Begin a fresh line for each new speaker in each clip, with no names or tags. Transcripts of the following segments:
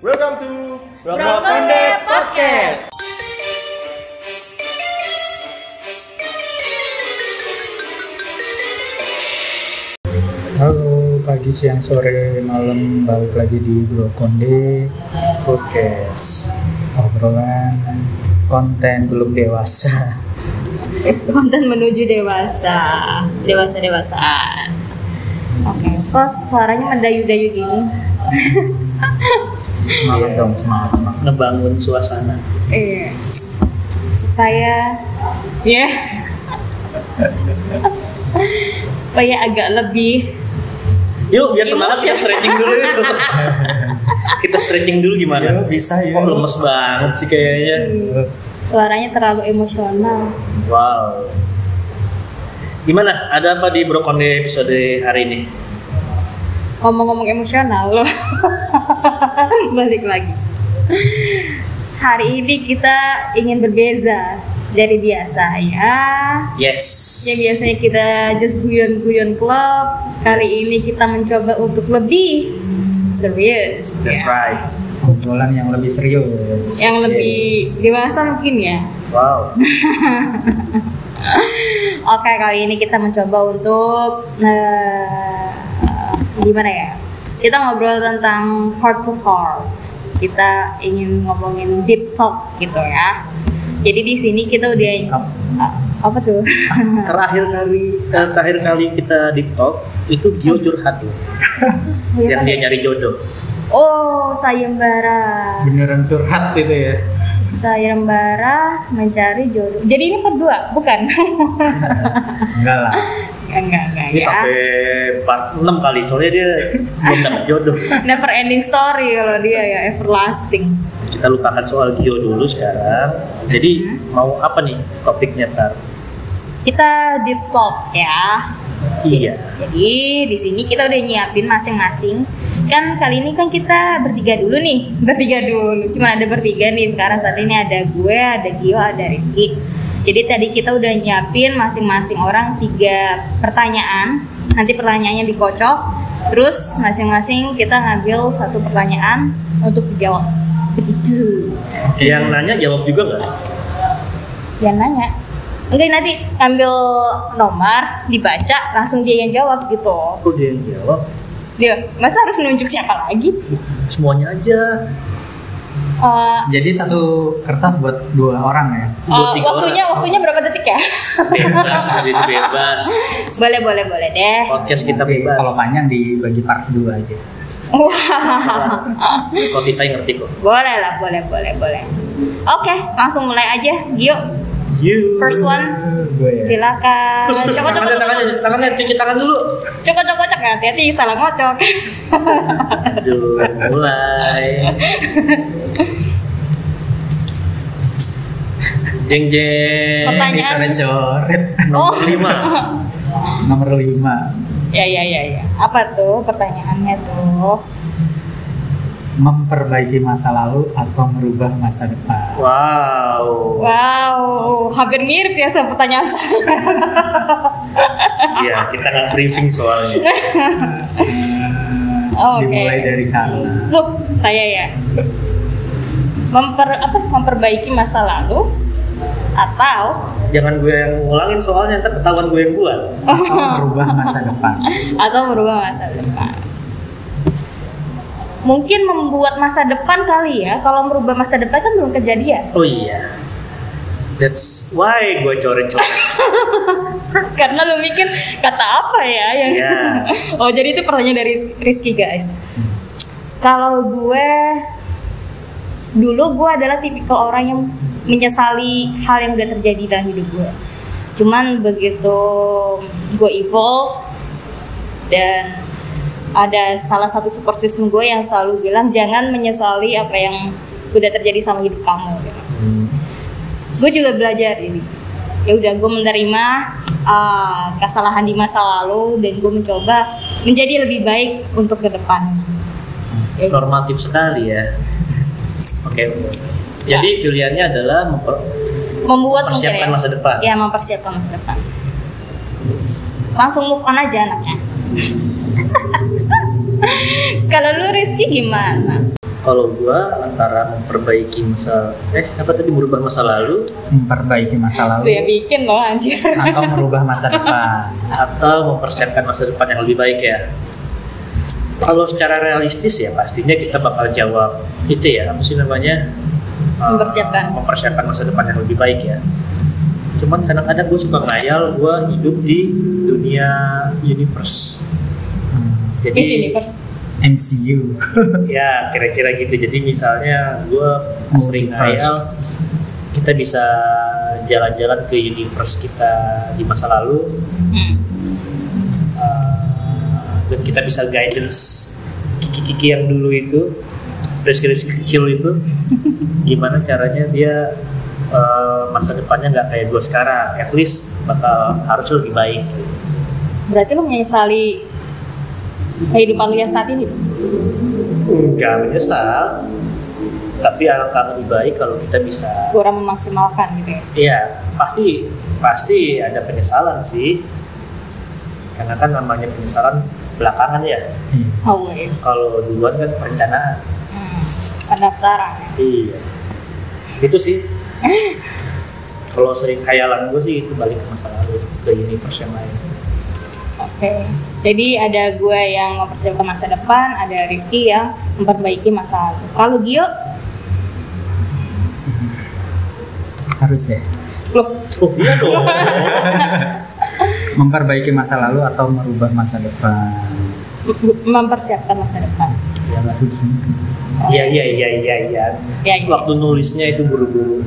Welcome to
Brokonde Podcast.
Halo, pagi, siang, sore, malam balik lagi di Brokonde Podcast. Obrolan konten belum dewasa.
konten menuju dewasa dewasa dewasaan oke kok suaranya mendayu-dayu gini
Semangat dong, semangat, semangat.
ngebangun suasana
iya supaya ya supaya agak lebih
yuk biar semangat ya stretching dulu yuk kita stretching dulu
Ya,
gimana
bisa ya.
kok lemes banget sih kayaknya
suaranya terlalu emosional
wow gimana ada apa di Brokonde episode hari ini
ngomong-ngomong emosional loh balik lagi hari ini kita ingin berbeza dari biasanya
yes
Ya biasanya kita just guyon-guyon club. Kali ini kita mencoba untuk lebih serius,
that's
ya.
right
Obrolan yang lebih serius.
yang lebih dewasa mungkin ya.
Iya, wow
Oke kali ini kita mencoba untuk eh, gimana ya? Kita ngobrol tentang heart to heart. Kita ingin ngomongin deep talk gitu ya. Jadi di sini kita udah
Up.
Ah, apa tuh?
terakhir kali eh, terakhir kali kita di talk itu Gio curhat loh yang
Iya.
dia nyari jodoh
Oh, sayembara.
Beneran curhat gitu ya.
sayembara mencari jodoh. Jadi ini kedua, bukan?
Enggak lah.
enggak, enggak
ini
ya.
sampai part 6 kali soalnya dia belum dapat jodoh
Never ending story kalau dia ya, everlasting.
kita lupakan soal Gio dulu sekarang. Jadi mau apa nih topiknya tar?
Kita deep talk ya.
Iya.
Jadi di sini kita udah nyiapin masing-masing. Kan kali ini kan kita bertiga dulu nih, bertiga dulu. Cuma ada bertiga nih sekarang saat ini ada gue, ada Gio, ada Rizky. Jadi tadi kita udah nyiapin masing-masing orang tiga pertanyaan. Nanti pertanyaannya dikocok. Terus masing-masing kita ngambil satu pertanyaan untuk dijawab. Begitu.
Yang nanya jawab juga nggak?
Yang nanya. Enggak nanti ambil nomor, dibaca, langsung dia yang jawab gitu.
Aku dia yang jawab.
Dia, masa harus nunjuk siapa lagi?
Semuanya aja.
Eh,
Jadi satu kertas buat dua orang ya.
eh,
Dua, tiga
waktunya waktunya berapa detik ya?
Bebas di sini bebas.
boleh boleh boleh deh.
Podcast kita
Nanti
bebas.
Kalau panjang dibagi part dua aja.
Wah,
Spotify ngerti kok.
boleh lah boleh boleh boleh. Oke, langsung mulai aja. Gio,
You.
first one,
Gue ya.
silakan.
Terus, terus,
Cokok cokok
tangannya,
cokok
tangannya, tangannya, cuci tangan dulu.
cokok cokok cokok hati-hati salah ngocok.
Aduh, mulai. Jeng jeng.
Pertanyaan.
Dicoret-coret.
Nomor
Oh.
lima.
Nomor lima.
ya ya ya ya. Apa tuh pertanyaannya tuh?
memperbaiki masa lalu atau merubah masa depan.
Wow.
Wow, hampir mirip ya sama pertanyaan saya.
Iya, kita nggak briefing soalnya.
Oke.
Dimulai dari Carla.
Loh, saya ya. Memper apa memperbaiki masa lalu atau
Jangan gue yang ngulangin soalnya ntar ketahuan gue yang buat.
Atau merubah masa depan.
atau merubah masa depan. Mungkin membuat masa depan kali ya. Kalau merubah masa depan kan belum kejadian.
Oh iya. That's why gue coret-coret.
Karena lu mikir kata apa ya yang
Iya.
Oh, jadi itu pertanyaan dari Rizky, guys. Kalau gue dulu gue adalah tipikal orang yang menyesali hal yang udah terjadi dalam hidup gue. Cuman begitu gue evolve dan ada salah satu support system gue yang selalu bilang jangan menyesali apa yang udah terjadi sama hidup kamu. gitu gue juga belajar ini ya udah gue menerima uh, kesalahan di masa lalu dan gue mencoba menjadi lebih baik untuk ke depan Ya,
Normatif sekali ya. Oke. oke.
Ya.
Jadi pilihannya adalah memper-
membuat mungkin
mempersiapkan
ya,
masa depan.
ya mempersiapkan masa depan langsung move on aja anaknya kalau lu Rizky gimana
kalau gua antara memperbaiki masa eh apa tadi merubah masa lalu
memperbaiki masa
Gue ya
lalu
bikin loh anjir.
atau merubah masa depan
atau mempersiapkan masa depan yang lebih baik ya kalau secara realistis ya pastinya kita bakal jawab itu ya apa sih namanya Eh,
Mempersiapkan.
mempersiapkan masa depan yang lebih baik ya cuman kadang-kadang gue suka ngayal gue hidup di dunia universe
Hmm,
jadi
Miss Universe.
MCU
ya kira-kira gitu jadi misalnya gue sering ngayal
Multiverse.
kita bisa jalan-jalan ke universe kita di masa lalu
Hmm.
Uh, dan kita bisa guidance kiki-kiki yang dulu itu rezeki-rezeki kecil itu gimana caranya dia uh, masa depannya nggak kayak gua sekarang at least bakal harus lebih baik
Berarti lu menyesali kehidupan lu yang saat ini.
nggak menyesal tapi alangkah lebih baik kalau kita bisa
Kurang memaksimalkan gitu ya.
Iya, pasti pasti ada penyesalan sih karena kan namanya penyesalan belakangan ya
Iya.
Always.
kalau duluan kan perencanaan
Hmm. Pendaftaran.
Iya. Itu sih. Kalau sering khayalan gue sih itu balik ke masa lalu, ke universe yang lain.
Oke. Jadi ada gue yang mempersiapkan masa depan, ada Rizky yang memperbaiki masa lalu. Kalau Gio,
harus ya
klub
Oh iya dong.
memperbaiki masa lalu atau merubah masa depan
mempersiapkan masa depan.
ya itu semua.
Iya iya iya iya iya.
Ya, ya.
Waktu nulisnya itu buru-buru.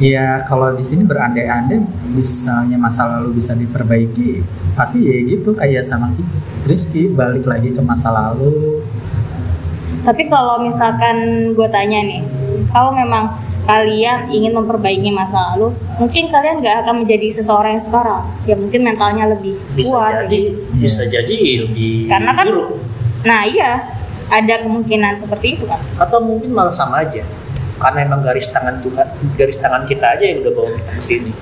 Ya kalau di sini berandai-andai misalnya masa lalu bisa diperbaiki pasti ya gitu kayak sama Rizky balik lagi ke masa lalu
Tapi kalau misalkan gue tanya nih, kalau memang kalian ingin memperbaiki masa lalu, mungkin kalian nggak akan menjadi seseorang yang sekarang. Ya mungkin mentalnya lebih
Bisa
kuat.
jadi,
gitu.
bisa jadi lebih
Karena kan-
buruk.
Nah iya, ada kemungkinan seperti itu kan.
Atau mungkin malah sama aja. Karena emang garis tangan Tuhan, garis tangan kita aja yang udah bawa kita ke sini.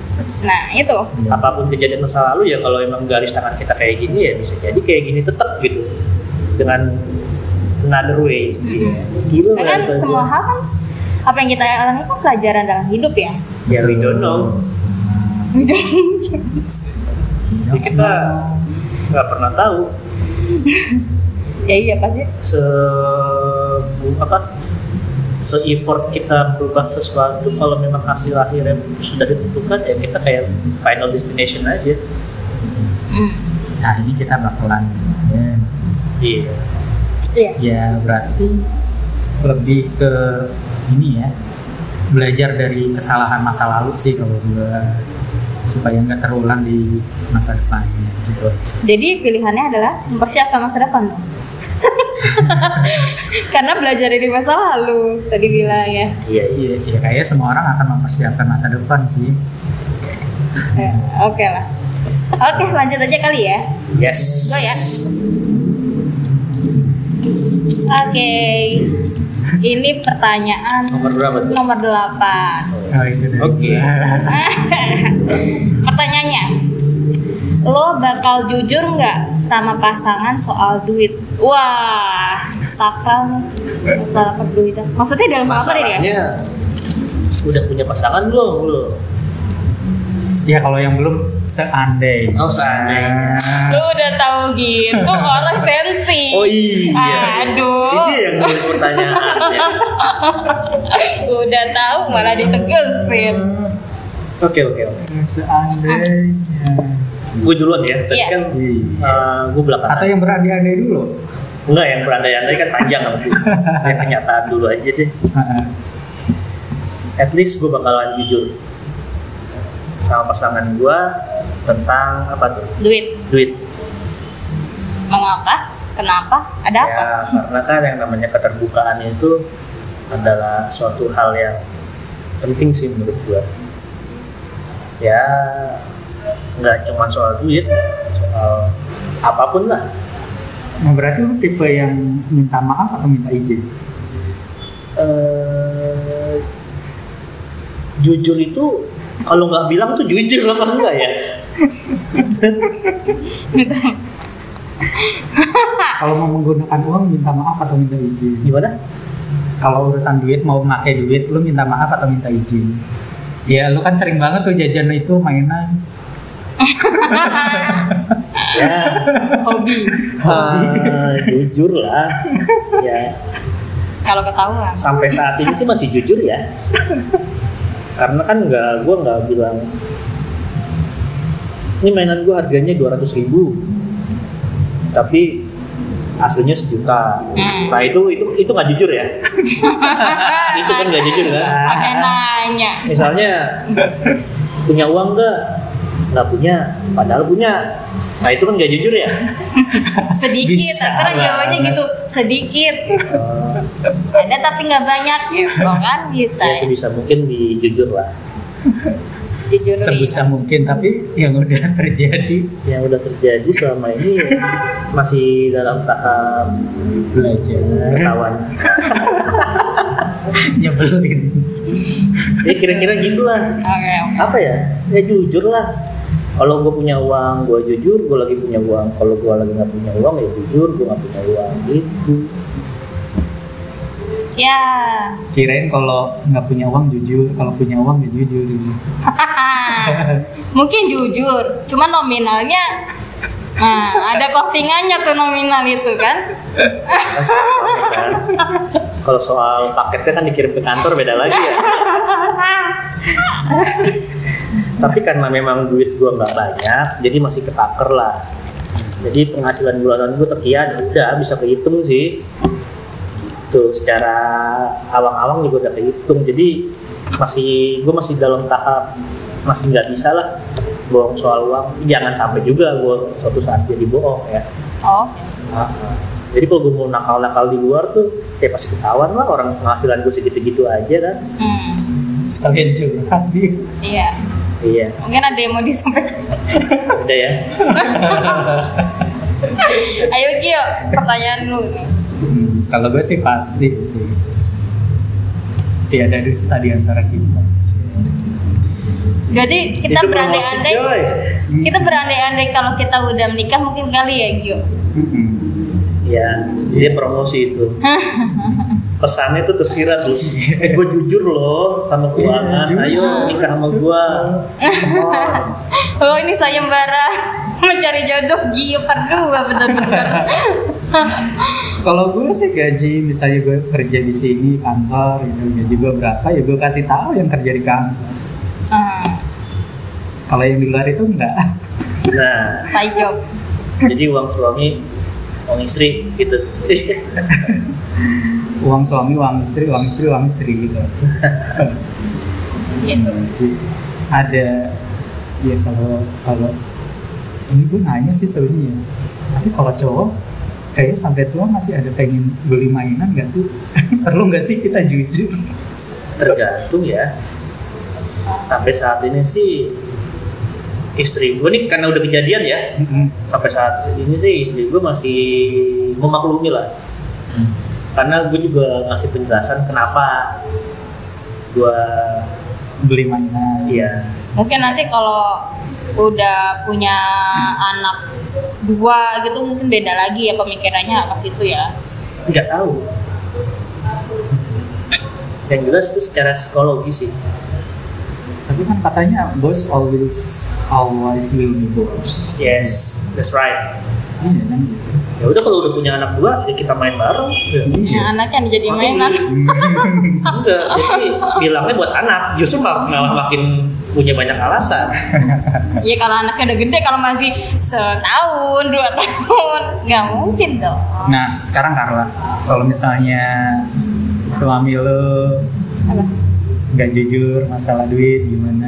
Nah itu,
Apapun kejadian masa lalu ya kalau emang garis tangan kita kayak gini ya bisa jadi kayak gini tetap gitu. Dengan another way. Iya. Gila
Nah, kan
nggak bisa
semua
gua.
hal kan apa yang kita alami kan pelajaran dalam hidup ya.
Ya we don't know.
Nah.
Jadi kita nggak pernah tahu
ya iya pasti.
se apa se effort kita berubah sesuatu kalau memang hasil akhirnya sudah ditentukan ya kita kayak final destination aja.
Hmm,
nah ini kita bakalan ya,
Iya.
Iya.
ya berarti lebih ke ini ya belajar dari kesalahan masa lalu sih kalau gua supaya nggak terulang di masa depannya gitu aja.
Jadi pilihannya adalah mempersiapkan masa depan. dong. Karena belajar dari masa lalu tadi bilang ya.
Iya. iya.
Iya, iya, kayaknya semua orang akan mempersiapkan masa depan sih.
Ya, Oke lah. Oke lanjut aja kali ya.
Yes.
Gue ya. Oke. Ini pertanyaan
Nomor berapa tuh?
nomor 8.
Oh, itu dari
Oke.
gua.
Pertanyaannya, lo bakal jujur nggak sama pasangan soal duit? Wah, sakral nih, masalah perduitan. Maksudnya dalam hal apa nih ya?
Masalahnya udah punya pasangan belum lo?
Ya kalau yang belum seandainya.
Oh, seandainya.
Lo udah tahu gitu, orang sensi.
Oh, iya.
Aduh.
Itu yang nulis pertanyaan ya.
Udah tahu malah ditegesin.
Oke oke oke.
Seandainya.
Gue duluan ya. Tadi
Iya.
kan
Iya.
gue belakangan.
Atau yang berandai-andai dulu.
Enggak yang berandai-andai kan panjang nanti. Yang kenyataan dulu aja deh.
Heeh.
At least gue bakalan jujur sama pasangan gue tentang apa tuh
Duit,
duit.
mengapa? Kenapa? Ada apa?
Ya karena kan yang namanya keterbukaan itu adalah suatu hal yang penting sih menurut gue. Ya nggak cuma soal duit, soal apapun lah.
Nah, berarti lu tipe yang minta maaf atau minta izin?
eh jujur itu kalau nggak bilang tuh jujur apa enggak ya?
Kalau mau menggunakan uang minta maaf atau minta izin.
gimana
Kalau urusan duit mau pakai duit lu minta maaf atau minta izin. Ya lu kan sering banget tuh jajan itu mainan.
ya
hobi
ah, jujur lah ya
kalau ketahuan
sampai saat ini sih masih jujur ya karena kan nggak gue nggak bilang ini mainan gue harganya 200.000 ribu tapi aslinya sejuta
Hmm.
nah itu itu itu nggak jujur ya itu kan nggak jujur kan
pakai nanya
misalnya punya uang nggak nggak punya padahal punya nah itu kan nggak jujur ya
sedikit
Bisa
terus jawabannya
banget.
gitu sedikit
Eh,
ada tapi nggak banyak gitu kan bisa
Iya. ya sebisa mungkin dijujur lah
jujur
sebisa mungkin tapi yang udah terjadi
yang udah terjadi selama ini masih dalam tahap
belajar
ketahuan.
nyebelin
Ya kira-kira gitulah.
oke oke.
Apa ya? Ya jujur lah. Kalau gue punya uang, gue jujur. Gue lagi punya uang. Kalau gue lagi nggak punya uang, ya jujur. Gue nggak punya uang. Gitu.
ya
kirain kalau nggak punya uang jujur kalau punya uang ya jujur
mungkin jujur cuman nominalnya nah, ada costingannya tuh nominal itu kan
Kan soal paket kan. Kalau soal paketnya kan dikirim ke kantor beda lagi ya. Tapi karena memang duit gue nggak banyak, jadi masih ketaker lah. Jadi penghasilan bulanan gue sekian, udah bisa kehitung sih. Gitu, secara awang-awang juga udah kehitung. Jadi masih gue masih dalam tahap masih nggak bisa lah bohong soal uang. Jangan sampai juga gue suatu saat jadi bohong ya.
oh
Ah, Jadi kalau gue mau nakal-nakal di luar tuh, ya pasti ketahuan lah orang penghasilan gue segitu-gitu aja kan.
hmm,
sekalian curhat dia
iya
Iya,
mungkin ada yang mau disampaikan
udah ya.
ayo Gio pertanyaan lu nih
Hmm, kalau gue sih pasti sih tiada dusta di antara kita
jadi kita
Itu promosi,
berandai-andai
coy.
kita berandai-andai kalau kita udah menikah mungkin kali ya Gio
Mm-mm.
Iya, dia promosi itu. Pesannya tuh tersirat loh. Eh, gue jujur loh sama keuangan.
Iya,
Ayo
jujur,
nikah sama gue.
Oh ini sayembara mencari jodoh Gio berdua benar-benar.
kalau gue sih gaji misalnya gue kerja di sini kantor gitu gaji gue berapa ya gue kasih tahu yang kerja di kantor
Hmm,
kalau yang di luar itu enggak
Nah,
side job.
jadi uang suami, uang istri gitu.
uang suami uang istri uang istri uang istri gitu
Gitu.
Jadi, ada ya kalau kalau ini gue nanya sih sebenarnya ya. tapi kalau cowok kayaknya sampai tua masih ada pengen beli mainan gak sih perlu gak sih kita jujur
tergantung ya sampai saat ini sih istri gue nih karena udah kejadian ya
Mm-mm.
sampai saat ini sih istri gue masih memaklumi lah karena gue juga ngasih penjelasan kenapa gue
beli mainan
ya
Mungkin nanti kalau udah punya anak dua gitu mungkin beda lagi ya pemikirannya atas itu ya.
nggak tahu yang jelas itu secara psikologi sih
tapi kan katanya bos always always will be boss
Iya.
yes that's right
iya kan gitu
ya udah kalau udah punya anak dua ya kita main bareng
iya
Yang Nah, anaknya jadi
Makin
mainan.
beli. Enggak, jadi bilangnya buat anak. Justru mak- malah makin punya banyak alasan.
Iya kalau anaknya udah gede kalau masih setahun dua tahun nggak mungkin dong.
nah sekarang Carla kalau misalnya suami lo
Apa?
nggak jujur masalah duit gimana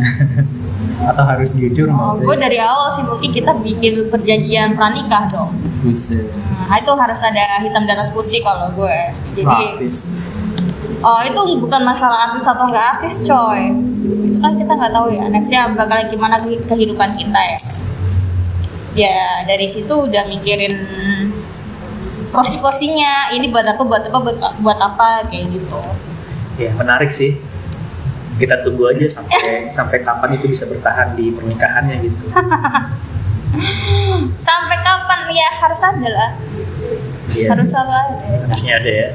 atau harus jujur
Oh,
nggak
gue dari awal sih mungkin kita bikin perjanjian pranikah dong.
Buset.
Nah, itu harus ada hitam di atas putih kalau gue. Jadi,
praktis
oh itu bukan masalah artis atau nggak artis, coy. Itu kan kita nggak tahu ya, nextnya bakal gimana ke- kehidupan kita ya. Ya dari situ udah mikirin porsi-porsinya. Ini buat apa, buat apa, buat, buat apa kayak gitu.
Ya menarik sih. Kita tunggu aja sampai sampai kapan itu bisa bertahan di pernikahannya gitu.
sampai kapan ya harus ada lah
Iya.
harus selalu ada
harusnya ada ya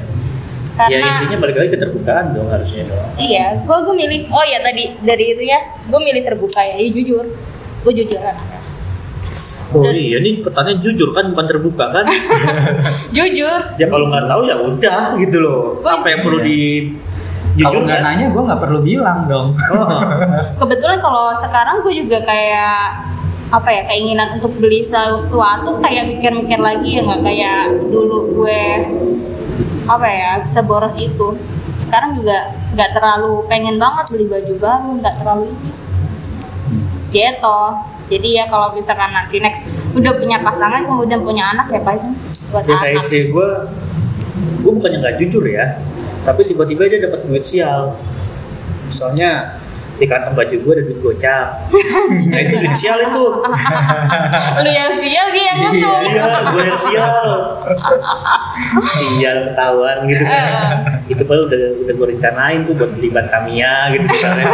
ya
karena
intinya balik lagi keterbukaan dong harusnya dong
iya gue gue milih oh ya tadi dari itu ya gue milih terbuka ya, ya jujur gue jujur anaknya
oh
Dan-
iya nih pertanyaan jujur kan bukan terbuka kan
jujur
ya kalau nggak tahu ya udah gitu loh
Gua-
apa yang perlu
Iya.
di
Kalau nggak nanya, gue nggak perlu bilang dong.
kebetulan kalau sekarang gue juga kayak apa ya keinginan untuk beli sesuatu kayak mikir-mikir lagi ya nggak kayak dulu gue apa ya bisa boros itu sekarang juga nggak terlalu pengen banget beli baju baru nggak terlalu ini gitu jadi ya kalau misalkan nanti next udah punya pasangan kemudian punya anak ya paling buat
Ya, kayak
anak
istri gue gue bukannya nggak jujur ya tapi tiba-tiba dia dapat duit sial misalnya di kantong baju gue ada duit gocap nah itu duit sial itu
lu yang sial dia yang ngetung
iya gue yang sial sial ketahuan gitu kan
Eh.
itu padahal udah udah gue rencanain tuh buat beli ban Tamiya gitu misalnya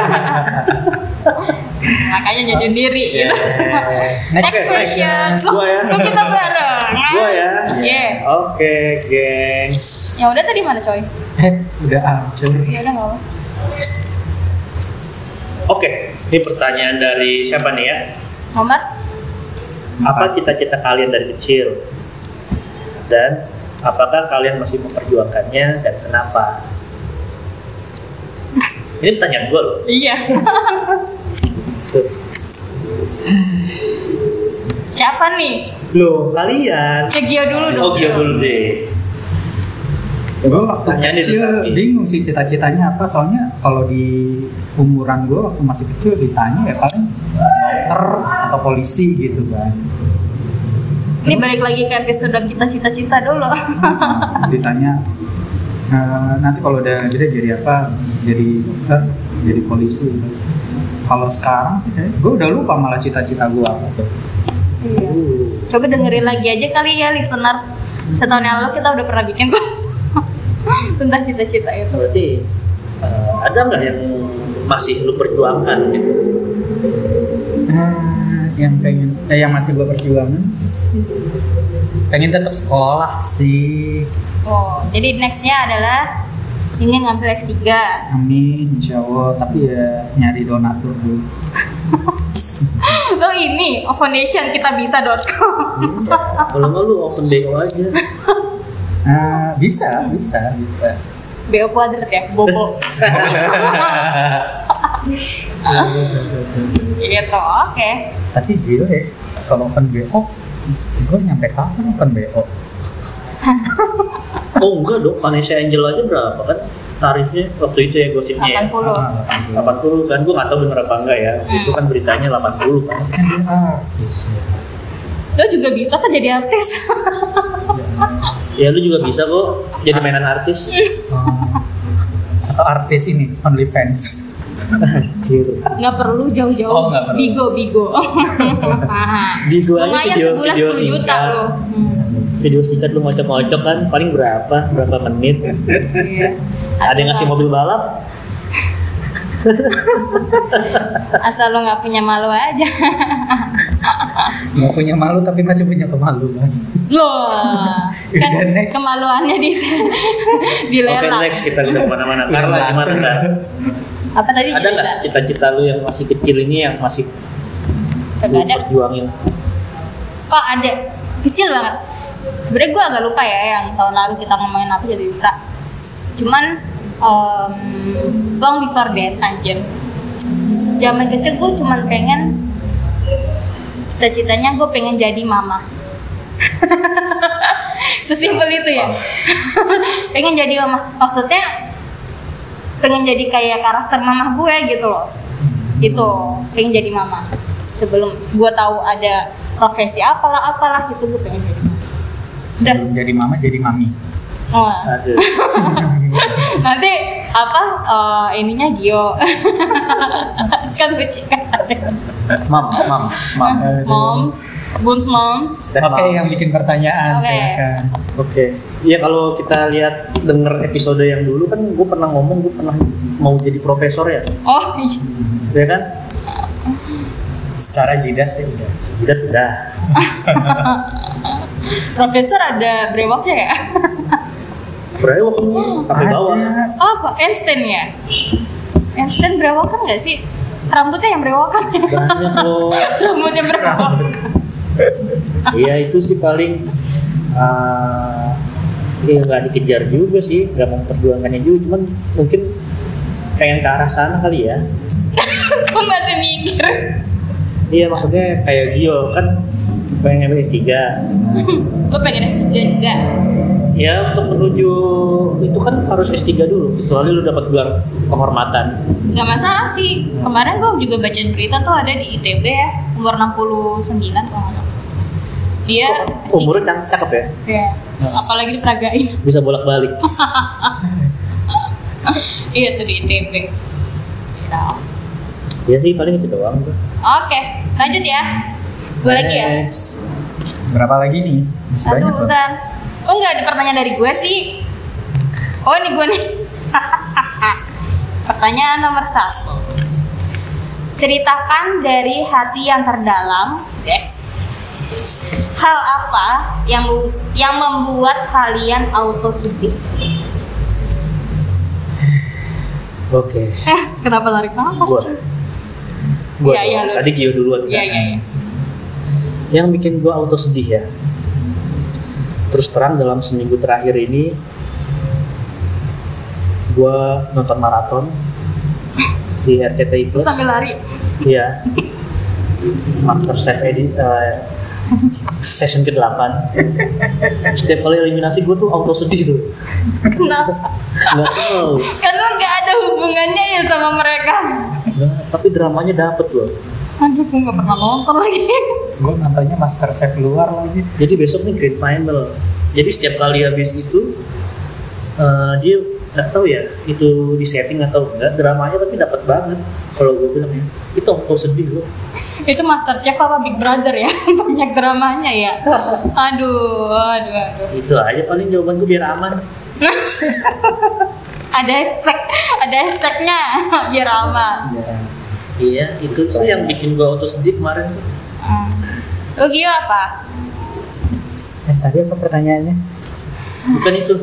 makanya nyuci diri
Ya.
gitu Next, question.
Gua ya.
Loh, kan kita bareng. kan?
gue ya
Yeah.
oke gengs
Yang Ya udah tadi mana coy?
Eh, udah hancur.
Ya udah nggak apa.
oke ini pertanyaan dari siapa nih ya
Nomor?
apa cita-cita kalian dari kecil dan apakah kalian masih memperjuangkannya dan kenapa ini pertanyaan gue loh
Iya.
Tuh.
Siapa nih?
loh kalian
Ya Gio dulu dong.
oh Gio dulu deh
Gue Ya, waktu
Pertanyaan
kecil
disesapi.
bingung sih cita-citanya apa soalnya kalau di umuran gue waktu masih kecil ditanya ya paling dokter atau polisi gitu kan.
Ini balik lagi ke episode kita cita-cita dulu.
Nah, ditanya "Eh, nanti kalau udah gede jadi apa? Jadi dokter, jadi polisi. gitu. Kalau sekarang sih gue udah lupa malah cita-cita gue apa tuh.
Iya.
Uh,
Coba dengerin lagi aja kali ya listener. Setahun yang lalu kita udah pernah bikin kok tentang cita-cita itu.
berarti eh, ada nggak yang masih lu perjuangkan gitu
Ah, yang pengen eh, yang masih gue perjuangkan sih. pengen tetap sekolah sih
Oh, jadi nextnya adalah ingin ngambil S3.
amin insya Allah tapi ya nyari donatur dulu
Lo Oh, ini foundation kita bisa.com.
kalau nggak lu open do aja
Ah, bisa bisa bisa
BO kuadrat ya, bobo. gitu, oke.
tapi gila ya kalau open BO gue nyampe kapan open BO
oh enggak dong Vanessa Angel aja berapa kan tarifnya waktu itu ya gosipnya ya
80.
Ah,
80 kan gue nggak tahu bener apa enggak ya Waktu itu kan beritanya 80 kan
kan dia artis
Lo
ya.
juga bisa kan jadi artis.
ya lu juga bisa kok jadi mainan artis
Ah. atau artis ini OnlyFans
anjir
Nggak perlu jauh-jauh.
Oh, nggak perlu.
Bigo, bigo.
di gua aja
Lumayan
video,
sebulan
video
10 juta Hmm.
singkat
lo.
video singkat lu ngocok-ngocok kan paling berapa berapa menit
Iya.
ada yang ngasih
lo-
mobil balap
Asal lo nggak punya malu aja.
nggak punya malu tapi masih punya kan? kemaluan
Loh. Kan
Udah, next.
kemaluannya di
oke
dilelang.
next kita udah kemana-mana Karla
Dilelang.
gimana kan
Apa tadi?
ada nggak
cerita?
cita-cita lu yang masih kecil ini yang masih lu
Nggak ada.
perjuangin
kok ada kecil banget sebenarnya gue agak lupa ya yang tahun lalu kita ngomongin apa jadi lupa cuman um, long before that anjir zaman kecil gue cuman pengen cita-citanya gue pengen jadi mama sesimpel itu ya pengen jadi mama maksudnya pengen jadi kayak karakter mama gue gitu loh gitu pengen jadi mama sebelum gue tahu ada profesi apalah apalah gitu gue pengen jadi mama udah
sebelum jadi mama jadi mami
oh,
aduh
nanti apa eh, ininya Gio kan lucu kan
mam mam mam
moms buns moms
Step
Oke,
moms.
yang bikin pertanyaan
Oke.
silakan.
Oke, ya kalau kita lihat denger episode yang dulu kan gue pernah ngomong
iya.
gue pernah mau jadi profesor ya,
oh iya.
ya kan? secara jidat sih udah jidat udah
Profesor ada brewoknya ya?
brewok sampai bawah
Ada.
Apa? Einstein ya? Einstein brewokan nggak sih? Rambutnya yang brewokan ya?
banyak loh
Rambutnya brewokan.
Iya itu sih paling eh ya nggak dikejar juga sih, nggak memperjuangkannya juga, cuman mungkin pengen ke arah sana kali ya.
Gue masih mikir.
Iya maksudnya kayak Gio kan pengen ngambil S3
Gue pengen S3 juga.
ya untuk menuju itu kan harus S3 dulu kecuali lu dapat gelar penghormatan
Gak masalah sih. Kemarin gue juga baca berita tuh ada di ITB ya. Umur 69 kalau nggak salah. Dia S3.
umurnya cak- cakep ya
Ya. Apalagi diperagain.
bisa bolak balik
iya tuh di ITB. Kira.
ya sih paling itu doang tuh
Iya. Oke, lanjut ya. Gue lagi ya.
Next.
Berapa lagi nih? Masih
Satu
banyak loh.
urusan. Kok nggak ada pertanyaan dari gue sih? Oh ini gue nih. pertanyaan nomor satu. Ceritakan dari hati yang terdalam. Yes. Hal apa yang mu- yang membuat kalian auto sedih?
oke
Eh, kenapa tarik nafas?
Gua.
cuy?
Gua
Iya, iya,
doang.
lu.
tadi Gio duluan
Iya,
kan?
iya, iya.
yang bikin gua auto sedih ya terus terang dalam seminggu terakhir ini gua nonton maraton di
Terus
RCTI Plus
Sambil lari.
iya Master Chef Edi eh, session ke-8 setiap kali eliminasi gua tuh auto sedih tuh
Kenapa?
nggak tahu
Karena nggak ada hubungannya ya sama mereka.
Nggak, Nah, tapi dramanya dapet loh
Aduh, gue nggak pernah nonton lagi.
Gue nontonnya Master Chef luar lagi.
Jadi besok nih grand final. Jadi setiap kali habis itu eh, dia nggak tahu ya itu di setting atau enggak dramanya tapi dapat banget kalau gue bilang ya itu auto sedih loh
itu master chef apa big brother ya banyak dramanya ya aduh aduh aduh
itu aja paling jawaban gue biar aman
ada hashtag ada hashtagnya biar aman
Ya.
iya itu sih yang bikin gue auto sedih kemarin tuh
Hmm. lu Gio apa
Eh, tadi apa pertanyaannya?
bukan itu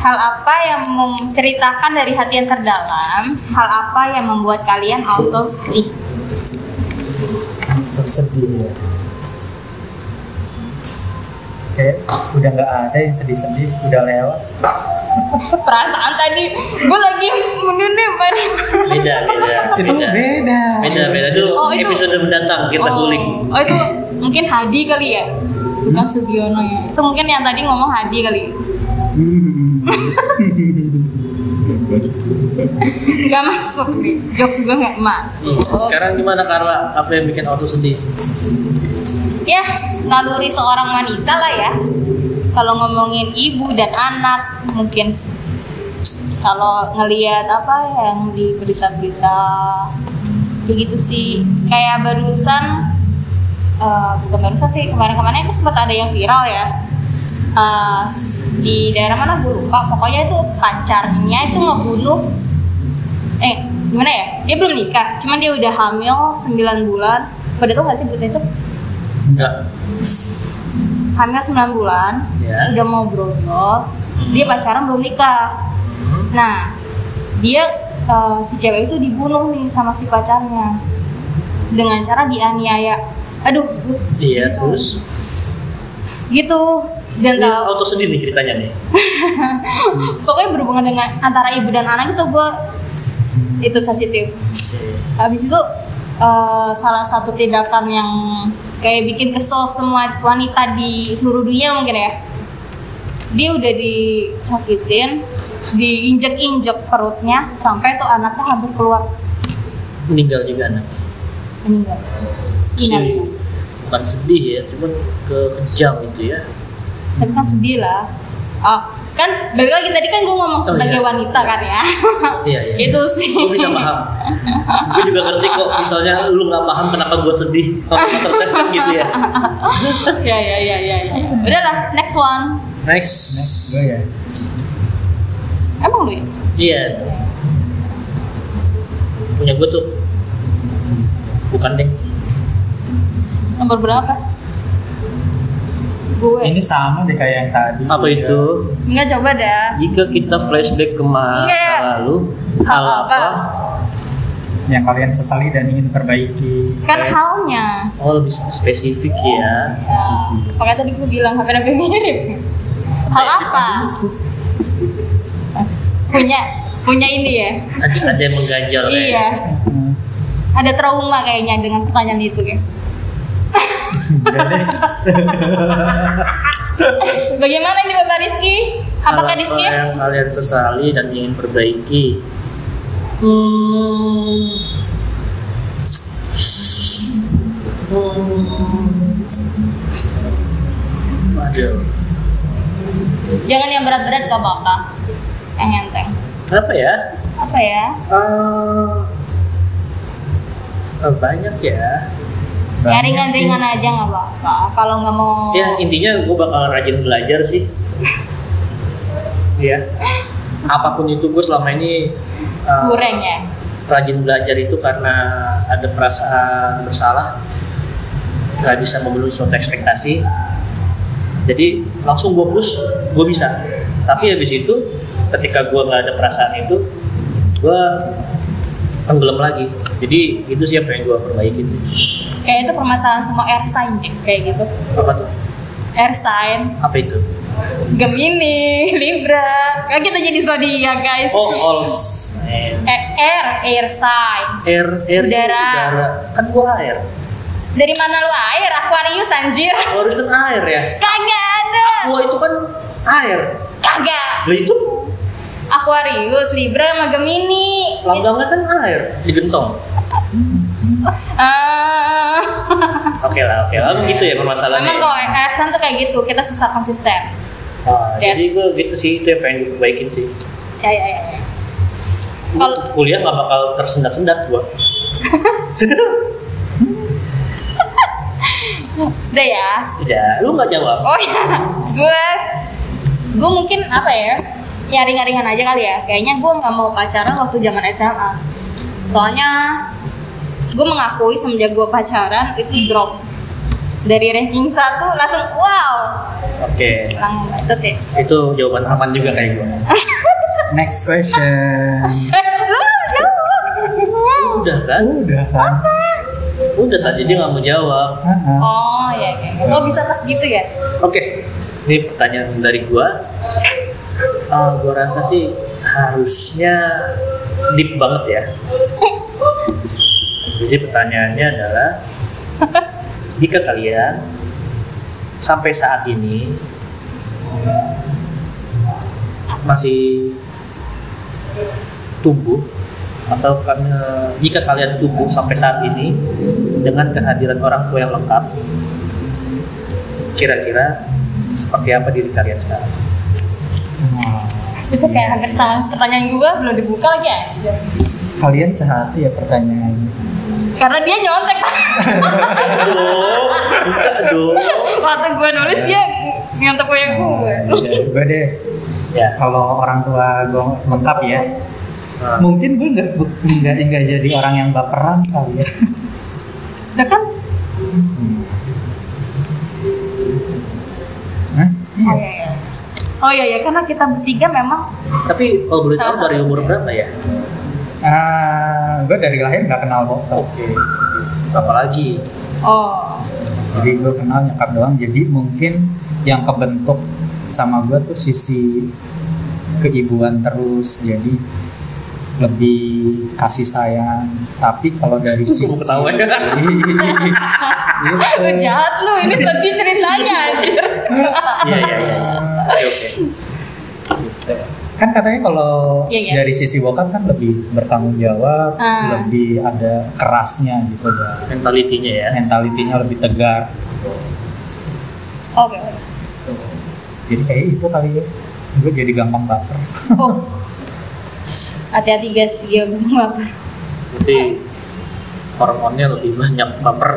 hal apa yang menceritakan dari hati yang terdalam hal apa yang membuat kalian auto sleep
Untuk sedih ya. Kayak udah nggak ada yang sedih-sedih, udah lewat.
perasaan tadi gue lagi menunduk
beda beda
Itu
beda
beda.
beda beda itu
Oh, itu-
episode mendatang kita guling
oh itu mungkin Hadi kali ya bukan Sugiono ya itu mungkin yang tadi ngomong Hadi kali
Hmm.
nggak masuk nih jokes gue nggak masuk
Hmm, sekarang gimana Carla apa yang bikin auto sedih
ya naluri seorang wanita lah ya kalau ngomongin ibu dan anak mungkin s- kalau ngelihat apa yang di berita-berita begitu sih kayak barusan eh, bukan barusan sih kemarin-kemarin itu sempat ada yang viral ya Eh, s- di daerah mana gue lupa pokoknya itu pacarnya itu ngebunuh eh gimana ya dia belum nikah cuman dia udah hamil 9 bulan pada tuh nggak sih berita itu
enggak
hamil 9 bulan
Ya.
udah mau brojol
Hmm.
dia pacaran belum nikah nah dia eh, si cewek itu dibunuh nih sama si pacarnya dengan cara dianiaya aduh gua
iya terus Iya,
gitu dan
ini
tau-
auto sedih nih ceritanya nih oh.
pokoknya berhubungan dengan antara ibu dan anak itu gue itu sensitif habis itu eh, salah satu tindakan yang kayak bikin kesel semua wanita di seluruh dunia mungkin ya dia udah disakitin diinjek-injek perutnya sampai tuh anaknya hampir keluar
meninggal juga anak
meninggal
si
Inang.
bukan sedih ya cuman ke kejam gitu ya
tapi kan sedih lah oh kan balik lagi tadi kan gue ngomong
Oh,
sebagai
iya.
wanita kan ya
iya iya
itu sih
gue bisa paham gue juga ngerti kok misalnya lu nggak paham kenapa gue sedih kalau master chef kan gitu ya
ya ya ya ya ya udah lah next one
next,
Next gue ya.
emang lu ya
iya punya gue tuh bukan deh
Nomor berapa? Gue.
Ini sama deh kayak yang tadi.
Apa itu?
Enggak coba dah.
Jika kita flashback ke masa
Iya.
lalu, hal
Hal
apa?
apa?
Yang Ya, kalian sesali dan ingin perbaiki.
Kan halnya.
Oh lebih spesifik ya.
Nah, makanya tadi gue bilang hampir-hampir mirip hal apa punya punya ini ya
Ada, ada yang mengganjal ya.
iya
Hmm.
ada trauma kayaknya dengan pertanyaan itu ya bagaimana ini bapak Rizky apakah
Hal apa
Rizky
yang kalian sesali dan ingin perbaiki? Hmm. Hmm. Waduh.
jangan yang berat-berat gak apa-apa yang enteng
Apa ya?
apa ya
Eh, eh, banyak ya.
Nah,
ya ringan-ringan aja nggak apa-apa kalau nggak mau
Ya intinya gue bakal rajin belajar sih. Iya. Apapun itu gue selama ini eh,
goreng ya
rajin belajar itu karena ada perasaan bersalah nggak bisa memenuhi suatu ekspektasi jadi langsung gue push gue bisa tapi habis itu ketika gue nggak ada perasaan itu gue tenggelam lagi jadi itu sih apa yang gue perbaiki
kayak itu permasalahan semua air sign deh kayak gitu
apa tuh
air sign
apa itu
Gemini, Libra. Kan kita jadi zodiak, guys.
oh all
Eh, air, air sign.
air air itu
Udara.
kan gue air
Dari mana lu air? Aquarius anjir.
Lu harus kan air ya
Kagak ada.
gue itu kan air
Kagak.
lah itu
Aquarius, Libra sama Gemini.
langgangnya kan air digentong
Ah.
Oke lah, oke lah, begitu ya
Emang
permasalahannya.
kok air sign tuh kayak gitu, kita susah konsisten.
Ah, jadi gue gitu sih, itu yang pengen gue perbaikin sih.
Ya ya ya. ya. Kalau
Kuliah gak bakal tersendat-sendat gue.
udah ya.
Ya, lu gak jawab.
Oh ya, gue gue mungkin apa ya? Ya ringan-ringan aja kali ya. Kayaknya gue nggak mau pacaran waktu zaman SMA. Soalnya gue mengakui semenjak gue pacaran itu drop dari ranking satu langsung wow
Oke,
langsung ya. itu sih.
itu jawaban aman juga kayak gue.
Next question.
Eh, lu jawab.
Udah kan?
Udah kan?
Udah tadi dia gak mau jawab.
Ah, ah.
Oh ya, ya. ya. Oh bisa pas gitu ya?
Oke, ini pertanyaan dari gue. Ah, gue rasa sih harusnya deep banget ya. Jadi pertanyaannya adalah, jika kalian sampai saat ini masih tumbuh atau karena jika kalian tumbuh sampai saat ini dengan kehadiran orang tua yang lengkap kira-kira seperti apa diri kalian sekarang
Nah,
Itu kayak hampir sama pertanyaan gue belum dibuka lagi aja.
Kalian sehati ya pertanyaannya.
Karena dia nyontek.
aduh aduh
Waktu gue nulis dia nyontek punya gue.
Gue Iya, deh,
ya
kalau orang tua gue lengkap ya,
nah,
mungkin gue nggak nggak nggak jadi orang yang baperan kali ya.
Udah kan?
Hmm.
Hah?
Oh iya iya. Oh iya iya karena kita bertiga memang
tapi kalau boleh tahu
Salah
dari
satu
umur
juga.
berapa ya
Ah, gue dari lahir nggak kenal bokap,
oke apalagi
oh
jadi gue kenal nyokap doang. Jadi mungkin yang kebentuk sama gue tuh sisi keibuan terus, jadi lebih kasih sayang. Tapi kalau dari
Gue
sisi
ketawa
Iya,
ya
Gitu. lu jahat lu ini sedih ceritanya anjir.
iya iya iya. oke oke Gitu.
kan katanya kalau
Iya, iya.
dari sisi bokap kan lebih bertanggung jawab,
Ah.
lebih ada kerasnya gitu, dan
mentalitinya ya
mentalitinya lebih tegar.
Oke.
Jadi kayak itu kali ya. Gue jadi gampang baper.
Oh. Hati-hati guys, ya belum apa.
berarti hormonnya lebih banyak baper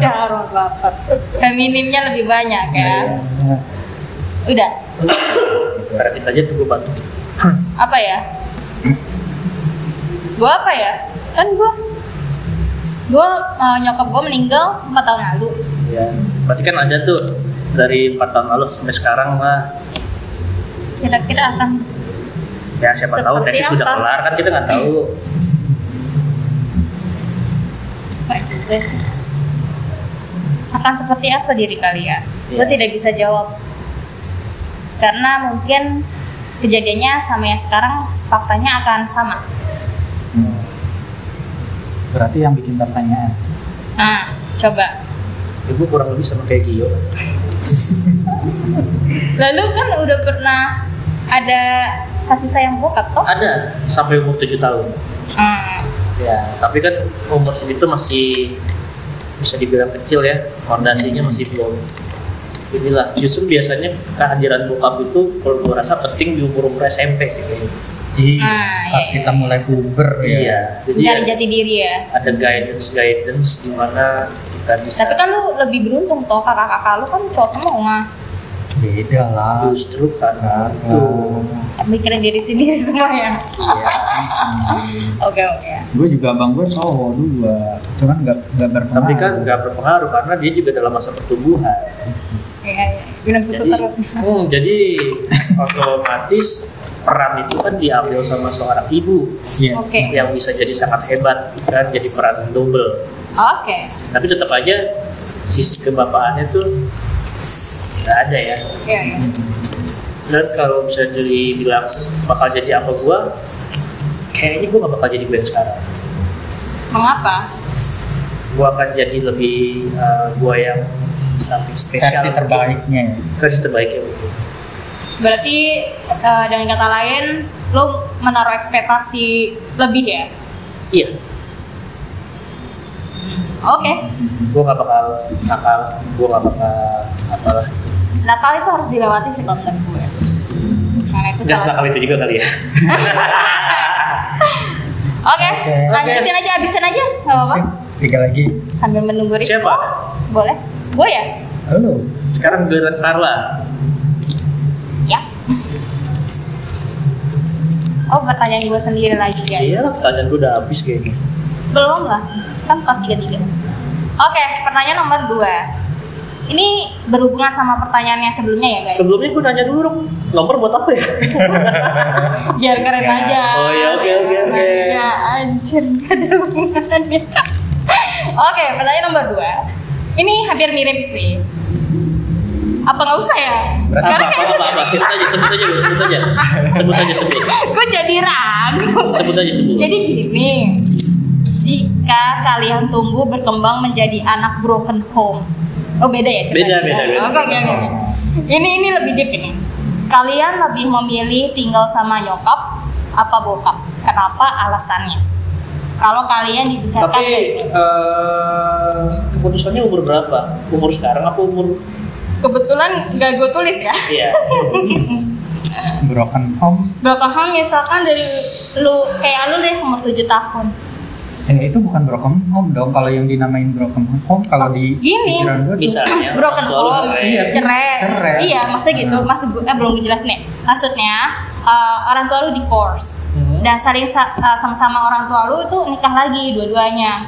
Udah orang baper. Femininnya lebih banyak ya.
Nah,
Udah.
berarti aja tuh gue bantu
Apa ya? Gua apa ya? Kan gua gue nyokap gue meninggal 4 tahun lalu
ya berarti kan ada tuh dari empat tahun lalu sampai sekarang mah
kira-kira akan
ya siapa tahu
Seperti
tesis
apa?
sudah kelar kan kita nggak tahu
Baik, gitu ya. akan seperti apa diri kalian gue
Iya.
tidak bisa jawab karena mungkin kejadiannya sama yang sekarang faktanya akan sama
Iya.
Hmm. Berarti yang bikin pertanyaan.
nah coba
ibu kurang lebih sama kayak Gio
lalu kan udah pernah ada kasih sayang bokap toh
ada sampai umur 7 tahun
Hmm,
ya tapi kan umur segitu masih bisa dibilang kecil ya fondasinya masih belum inilah justru biasanya kehadiran bokap itu kalau gue rasa penting di umur umur SMP sih kayaknya
Iya.
Ah,
pas
iya,
kita mulai puber ya.
iya jadi
mencari
ada,
jati diri ya
ada guidance guidance di mana kita bisa
tapi kan lu lebih beruntung toh kakak-kakak lu kan cowok semua
Beda lah.
justru karena itu
Tuh.
mikirin diri sendiri semua ya
iya
Hmm.
oke oke
Gue juga abang gue cowok dua, cuman nggak nggak berpengaruh.
tapi kan nggak berpengaruh karena dia juga dalam masa pertumbuhan
iya iya minum susu
jadi,
terus
hmm, jadi otomatis peran itu kan diambil sama seorang ibu
Iya.
oke
yang bisa jadi sangat hebat kan jadi peran double
oke
tapi tetap aja sisi kebapaannya tuh nggak ada ya
iya iya
dan kalau bisa dibilang bakal jadi apa gua kayaknya gua gak bakal jadi gue yang sekarang
mengapa
gua akan jadi lebih uh, gua yang something spesial
versi terbaiknya. ya.
versi terbaiknya mungkin.
berarti eh, dengan kata lain lu menaruh ekspektasi lebih ya
iya
oke
gua gak bakal nakal gua gak bakal apalah
Natal itu harus dilewati sih kalau menurut gue karena itu
nggak
salah
nakal itu juga kali ya
oke lanjutin aja habisin aja nggak apa-apa
Sip, Tiga lagi.
sambil menunggu Riko
Siapa?
boleh gue ya
Halo.
sekarang giliran Carla
ya oh pertanyaan gue sendiri lagi guys
iya pertanyaan gua udah habis kayaknya
Belum lah, kan kelas 33 Oke, pertanyaan nomor 2 Ini berhubungan sama pertanyaan yang sebelumnya ya guys
sebelumnya gua nanya dulu dong nomor buat apa ya
Biar keren aja
Oh, iya, oke, oke, oke.
Ya, anjir, gak ada hubungannya Oke, pertanyaan nomor 2 Ini hampir mirip sih Apa nggak usah ya?
apa
Karena
apa
kayak
apa, apa sebut aja sebut aja lu, sebut aja sebut aja sebut
gue jadi ragu
sebut aja sebut
Jadi gini, jika kalian tumbuh berkembang menjadi anak broken home. Oh beda ya
Beda, beda, beda.
Oke, oke, oke. Ini ini lebih deep ini. Kalian lebih memilih tinggal sama nyokap apa bokap? Kenapa? Alasannya? Kalau kalian dipisahkan
tapi
dari
eh, keputusannya umur berapa umur sekarang apa umur
kebetulan gak gue tulis ya.
iya
Broken home.
Broken home misalkan dari lu kayak lu deh umur 7 tahun.
Eh itu bukan broken home dong. Kalau yang dinamain broken home, kalau di
Gini.
pikiran gue tuh-
misalnya
broken
orang tua lu
home
cerai.
Iya.
cerai.
Cerai.
iya maksudnya gitu maksud gue eh, belum gue jelas nih maksudnya eh, orang tua lu divorce
Hmm.
dan saling sa- eh, sama-sama orang tua lu itu nikah lagi dua-duanya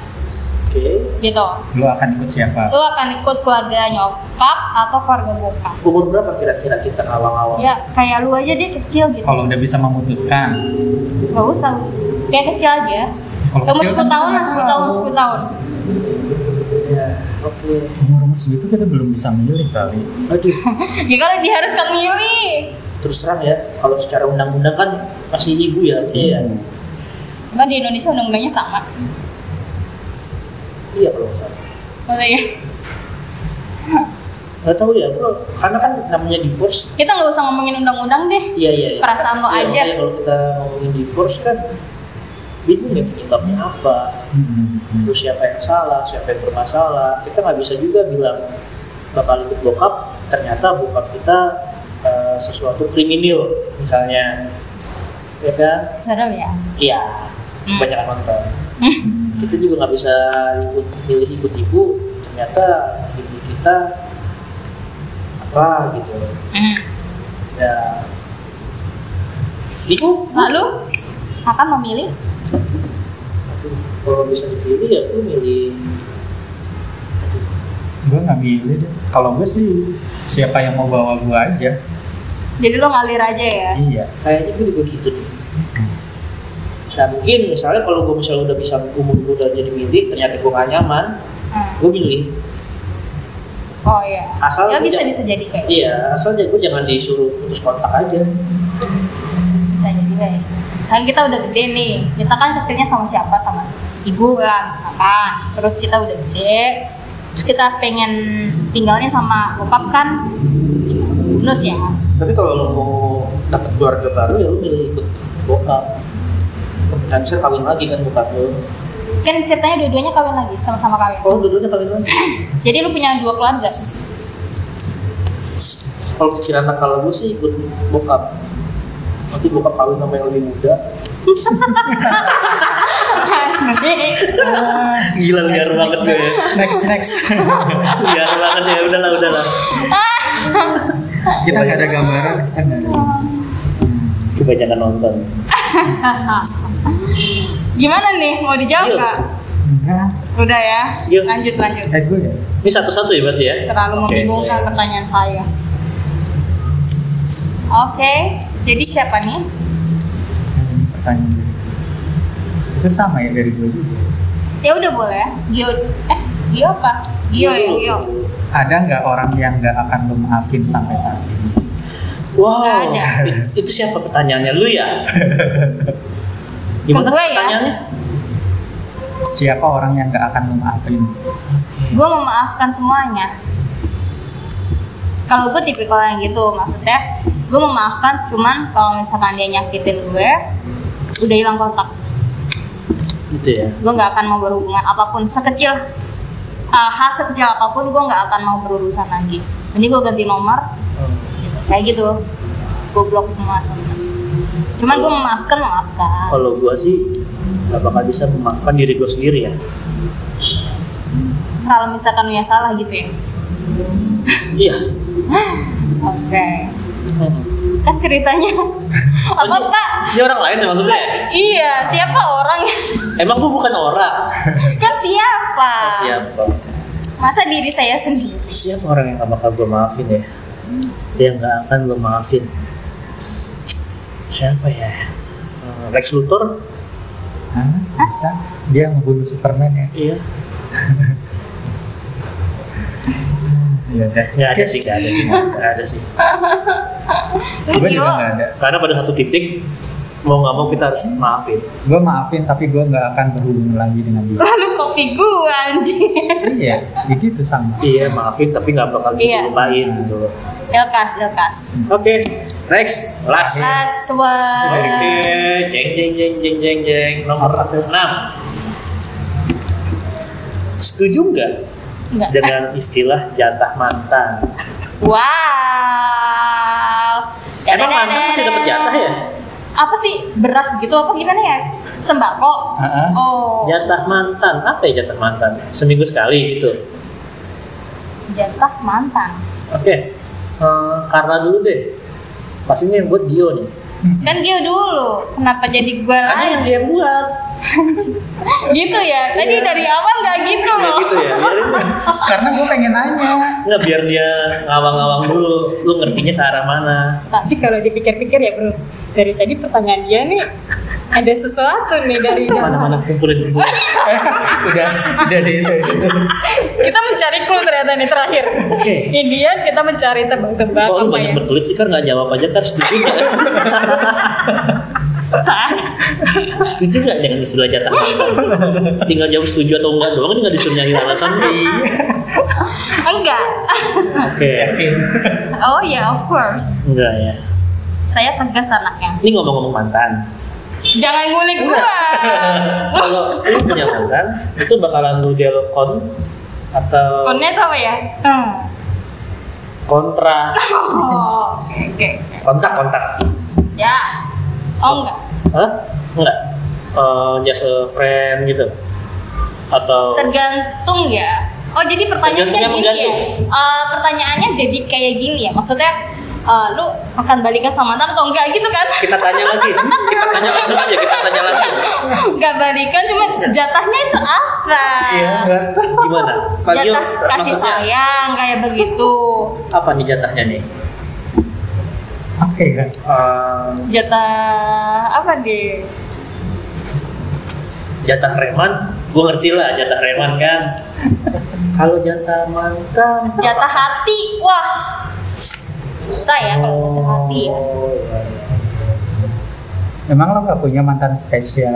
oke
gitu
lu akan ikut siapa?
lu akan ikut keluarga nyokap atau keluarga bokap
umur berapa kira-kira kita awal-awal
ya kayak lu aja dia kecil gitu
Kalau udah bisa memutuskan.
gak usah kayak kecil aja
Kalau
umur
kecil
10
kan
tahun lah 10 tahun
tahu.
10 tahun
Iya, oke
Umur-umur segitu kita belum bisa milih kali.
aduh
ya kalau diharuskan milih
terus terang ya kalau secara undang-undang kan masih ibu ya harusnya ya
Cuman di Indonesia undang-undangnya sama
iya kalau nggak salah
Boleh ya?
nggak tahu ya bro karena kan namanya divorce
kita nggak usah ngomongin undang-undang deh
iya iya iya.
Perasaan lo
Iya,
aja.
makanya kalau kita ngomongin divorce kan bingung ya penyebabnya apa
Hmm.
terus siapa yang salah, siapa yang bermasalah. Kita nggak bisa juga bilang bakal ikut bokap, ternyata bokap kita eh, sesuatu kriminal misalnya, ya kan?
serem ya
Iya,
Hmm.
banyak nonton. Kita juga nggak bisa ikut milih ikut ibu, ternyata ibu kita apa gitu.
Hmm.
Ya, bingung.
Lalu akan memilih
kalau bisa dipilih ya gue milih
gue nggak milih deh kalau gue sih siapa yang mau bawa gue aja
Jadi lo ngalir aja ya.
iya
kayaknya gue juga gitu deh nah mungkin misalnya kalau gue misalnya udah bisa umur gue udah jadi milik ternyata gue gak nyaman
Hmm.
gue milih
Oh iya.
Asal
ya
lo
bisa
jangan-
bisa jadi kayak
iya asal aja gue jangan disuruh putus kontak aja
bisa jadi lah ya. Kan kita udah gede nih. Misalkan cocoknya sama siapa sama ibu lah misalkan. Terus kita udah gede. Terus kita pengen tinggalnya sama bokap kan bonus ya.
tapi kalau lo mau dapet keluarga baru ya lo milih ikut bokap kemudian bisa kawin lagi kan bokap lo
Kan ceritanya dua-duanya kawin lagi, sama-sama kawin.
oh dua-duanya kawin lagi
Jadi lu punya dua keluarga.
kalau pikiran nakal gue sih ikut bokap nanti bokap kawin sama yang lebih muda Ah, gila liar banget gue ya
next next
liar banget ya udahlah udahlah
kita nggak ada gambaran kita nggak ada
coba jangan nonton
Gimana nih? Mau dijawab
Yuk.
nggak?
enggak
Udah ya.
Yuk.
Lanjut lanjut.
eh gue ya
ini satu-satu ya berarti ya
terlalu
Oke.
membingungkan pertanyaan saya. Oke, jadi siapa nih?
Ini pertanyaan dari gue. itu sama ya dari gue juga
Ya udah boleh. Gio eh Gio apa? Gio ya, Gio.
ada nggak orang yang nggak akan lo maafin sampai saat ini
Wow,
Nggak ada.
it- itu siapa pertanyaannya? Lu ya? Gimana
Ke gue ya?
pertanyaannya?
siapa orang yang nggak akan lo maafin
Gue memaafkan semuanya. Kalau gue tipikal yang gitu, maksudnya gue memaafkan cuman kalau misalkan dia nyakitin gue, udah hilang kontak.
Gitu ya.
Gue nggak akan mau berhubungan apapun sekecil eh, hal sekecil apapun gue nggak akan mau berurusan lagi. Ini gue ganti nomor, gitu. kayak gitu gue blok semua sosmed cuman gue memaafkan memaafkan
Kalau gua sih nggak bakal bisa memaafkan diri gua sendiri ya.
kalau misalkan punya salah gitu ya
Iya.
oke kan ceritanya apa pak
Dia orang lain ya maksudnya. ya?
iya siapa orang
Emang gua bukan orang.
kan siapa
Oh, siapa?
masa diri saya sendiri
Siapa orang yang nggak bakal gua maafin ya? Dia nggak akan lu maafin. Siapa ya? Hmm, Lex Luthor?
Hah? bisa dia ngebunuh Superman ya
Iya.
iya deh
Nggak ada sih, nggak ada sih, nggak ada sih.
lu
gue
Gio
juga nggak ada
Karena pada satu titik mau nggak mau kita harus maafin.
gue maafin tapi gue nggak akan berhubung lagi dengan dia
lalu kopi gue anjing
iya ya gitu sama
Iya maafin tapi nggak bakal bisa
Iya.
dilupain gitu loh.
delkas delkas
Oke next last.
last
Oke
one
jeng jeng jeng jeng jeng jeng nomor enam. Setuju nggak
Enggak.
dengan istilah jatah mantan?
wow
Emang mantan masih dapat jatah ya?
apa sih beras gitu apa gimana ya sembako
Heeh.
oh
Jatah mantan apa ya jatah mantan? Seminggu sekali gitu.
jatah mantan
Oke eh, karena dulu deh. Pastinya yang buat Gio nih.
kan dia dulu kenapa jadi gue
Karena yang
lagi
dia buat.
gitu ya tadi dari awal nggak gitu
Ya
Oh.
loh
gitu ya. Biarin deh.
karena gue pengen nanya
Nggak biar dia ngawang-ngawang dulu. Lu ngertinya ke arah mana?
Tapi kalau dipikir-pikir ya bro, dari tadi pertanyaan dia nih ada sesuatu nih dari
Mana-mana kumpulin kumpulin.
udah udah di itu
kita mencari clue ternyata nih terakhir.
Oke.
Indian kita mencari tebak-tebak
Kok lu
apa
banyak
ya?
berkelit sih kan nggak jawab aja kan setuju nggak? setuju nggak dengan istilah jatah mantan? Tinggal jawab setuju atau enggak doang ini nggak disuruh nyari alasan.
Iya.
enggak
Oke.
oh ya of course
Enggak ya.
saya tegas anaknya
Ini ngomong-ngomong mantan.
jangan ngulik gua
Kalau lu punya mantan, itu bakalan lu dialog kon atau
konnya tuh apa ya hmm.
kontra
oh oke oke.
kontak kontak.
ya oh enggak
Hah? Enggak. Eh, jasa friend gitu. Atau
tergantung ya oh jadi pertanyaannya
Tergantungnya
gini ya
menggantung.
Eh, pertanyaannya jadi kayak gini ya maksudnya eh, lu akan balikan sama Nathan atau enggak gitu kan
Kita tanya lagi. Kita tanya langsung aja, kita tanya langsung.
nggak balikan cuma jatahnya itu apa
Iya, enggak. Gimana? Bagio,
jatah kasih
maksudnya
sayang kayak begitu
apa nih jatahnya nih?
Oke ya.
Eh,
jatah apa deh
jatah reman, gue ngerti lah jatah reman kan. Kalau jatah mantan,
jatah hati wah susah ya kalau
oh,
jatah hati ya
Emang lo gak punya mantan spesial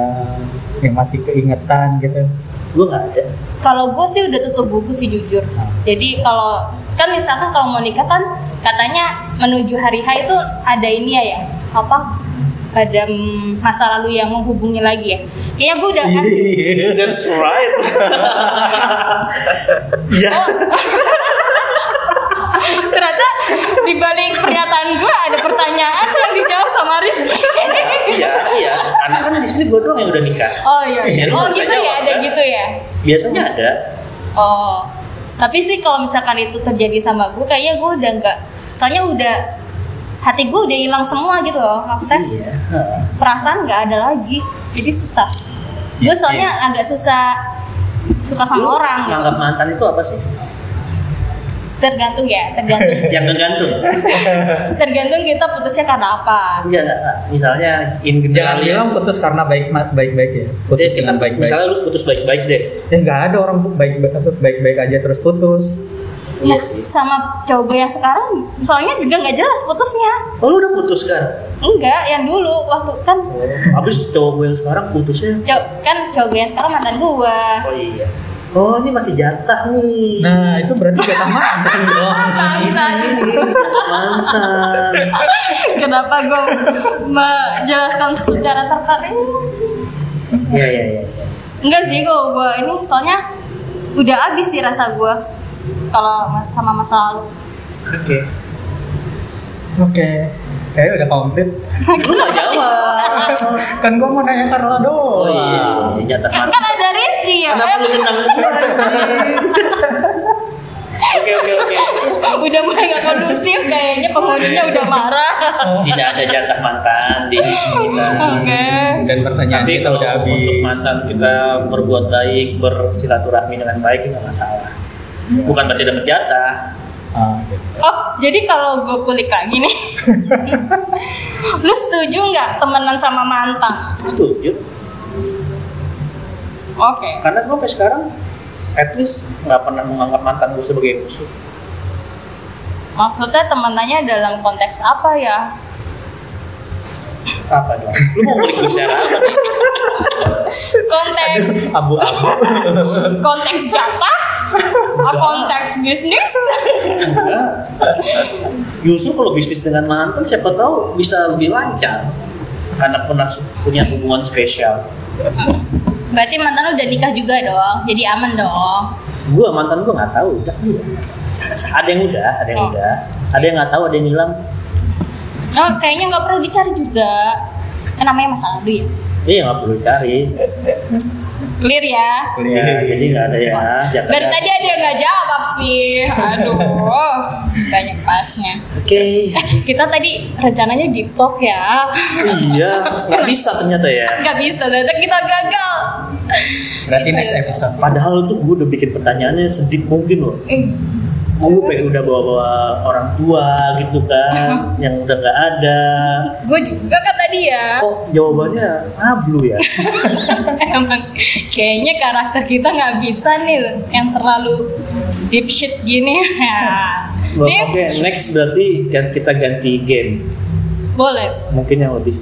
yang masih keingetan gitu?
gue nggak ada.
kalau gue sih udah tutup buku sih jujur jadi kalau kan misalkan kalau mau nikah kan katanya menuju hari H itu ada ini ya ya apa ada mm, masa lalu yang menghubungi lagi ya kayaknya gue udah
Iya.
kan
That's right. ya,
ternyata di balik pernyataan gue ada pertanyaan yang dijawab sama Rizky
iya, iya. Anak kan di sini gue doang yang udah nikah.
oh iya
Iya, lu
oh
nggak bisa
gitu ya
jawab,
ada
kan?
gitu ya
Biasanya ada.
Oh, tapi sih kalau misalkan itu terjadi sama gue, kayaknya gue udah nggak, soalnya udah hati gue udah hilang semua gitu loh, maksudnya
Iya.
perasaan nggak ada lagi, jadi susah. Gue soalnya agak susah suka sama orang gitu.
Nganggap mantan itu apa sih?
Tergantung ya, tergantung.
Yang ngegantung.
tergantung kita putusnya karena apa.
Enggak, Iya, misalnya in ya.
Jangan bilang putus karena baik baik baik ya. Putus
Iya, kita
dengan baik baik.
Misalnya lu putus baik-baik deh.
Ya nggak ada orang baik baik baik baik aja terus putus.
Ya,
Iya sih.
sama cowok gue yang sekarang, soalnya juga nggak jelas putusnya.
Oh, lu udah putus kan?
Enggak, yang dulu waktu kan
Habis cowok gue yang sekarang putusnya.
cow- kan cowok gue yang sekarang mantan gue.
Oh iya. Oh, ini masih jatah nih.
Nah itu berarti jatah mantan dong.
Ini jatah mantan.
Kenapa gue menjelaskan secara tertarik?
Iya, iya, iya.
Enggak sih gue gue ini soalnya udah abis sih rasa gue kalau mas- sama masa lalu.
Oke. Oke. Kayaknya udah komplit.
Lu gak jawab.
Kan gua mau nanya Carla doang.
Oh iya, jatah
Kan, kan
mantan.
ada Rizky ya,
Kenapa lu
eh,
kenal? Oke, oke, oke.
udah mulai gak kondusif kayaknya penghuninya
Iya.
udah marah.
Tidak ada jatah mantan di hidup kita.
Oke.
Dan pertanyaan
Tapi
kita
kalau
udah habis.
untuk mantan kita berbuat baik, bersilaturahmi dengan baik itu nggak masalah. Bukan berarti dapat jatah.
Ah, gitu.
Oh jadi kalau gue kulik lagi nih, lu setuju nggak temenan sama mantan?
Setuju.
Oke.
Karena gue sampai sekarang at least nggak pernah menganggap mantan gue sebagai musuh.
Maksudnya temenannya dalam konteks apa ya?
Apa dong? Lu mau beli secara apa nih?
Konteks
Abu-abu.
konteks jatah Ah, konteks bisnis
Enggak. Justru kalau bisnis dengan mantan siapa tahu bisa lebih lancar karena pernah su- punya hubungan spesial.
berarti mantan lu udah nikah juga dong jadi aman dong
Gue mantan gue nggak tahu udah dia. Ada yang udah, ada yang
Oh.
udah, ada yang nggak tahu, ada yang hilang.
oh, kayaknya nggak perlu dicari juga kan namanya masa lalu ya
Iya nggak perlu cari.
clear ya
Ya, jadi nggak ada ya. jatahnya.
dari tadi ada yang nggak jawab sih aduh banyak pasnya
Oke.
kita tadi rencananya deep talk ya
iya. Nggak bisa ternyata ya.
nggak bisa ternyata kita gagal
Berarti next
ya.
episode.
Padahal tuh gue udah bikin pertanyaannya sedikit mungkin loh.
Eh,
Gue Oh, pengen udah bawa-bawa orang tua gitu kan, yang udah nggak ada.
gue juga kan tadi
Ah.
ya
Kok jawabannya ngablu ya?
Emang kayaknya karakter kita nggak bisa nih loh, yang terlalu deep shit gini. Ya.
Oke,
deep
next berarti kan kita ganti game.
boleh.
Mungkin yang lebih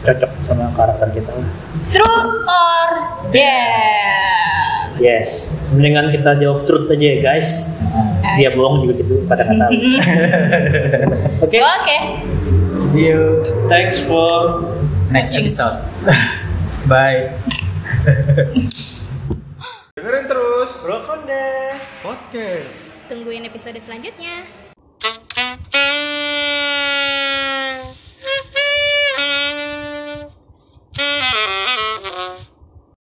cocok sama karakter kita.
Truth or dare?
Yes. Mendingan kita jawab truth aja ya guys.
Ah.
Dia bohong juga gitu pada nggak tahu. Oke.
Oke.
See you
Thanks for
next episode. Bye.
Dengerin terus.
Broken Day.
Podcast.
Tungguin episode selanjutnya.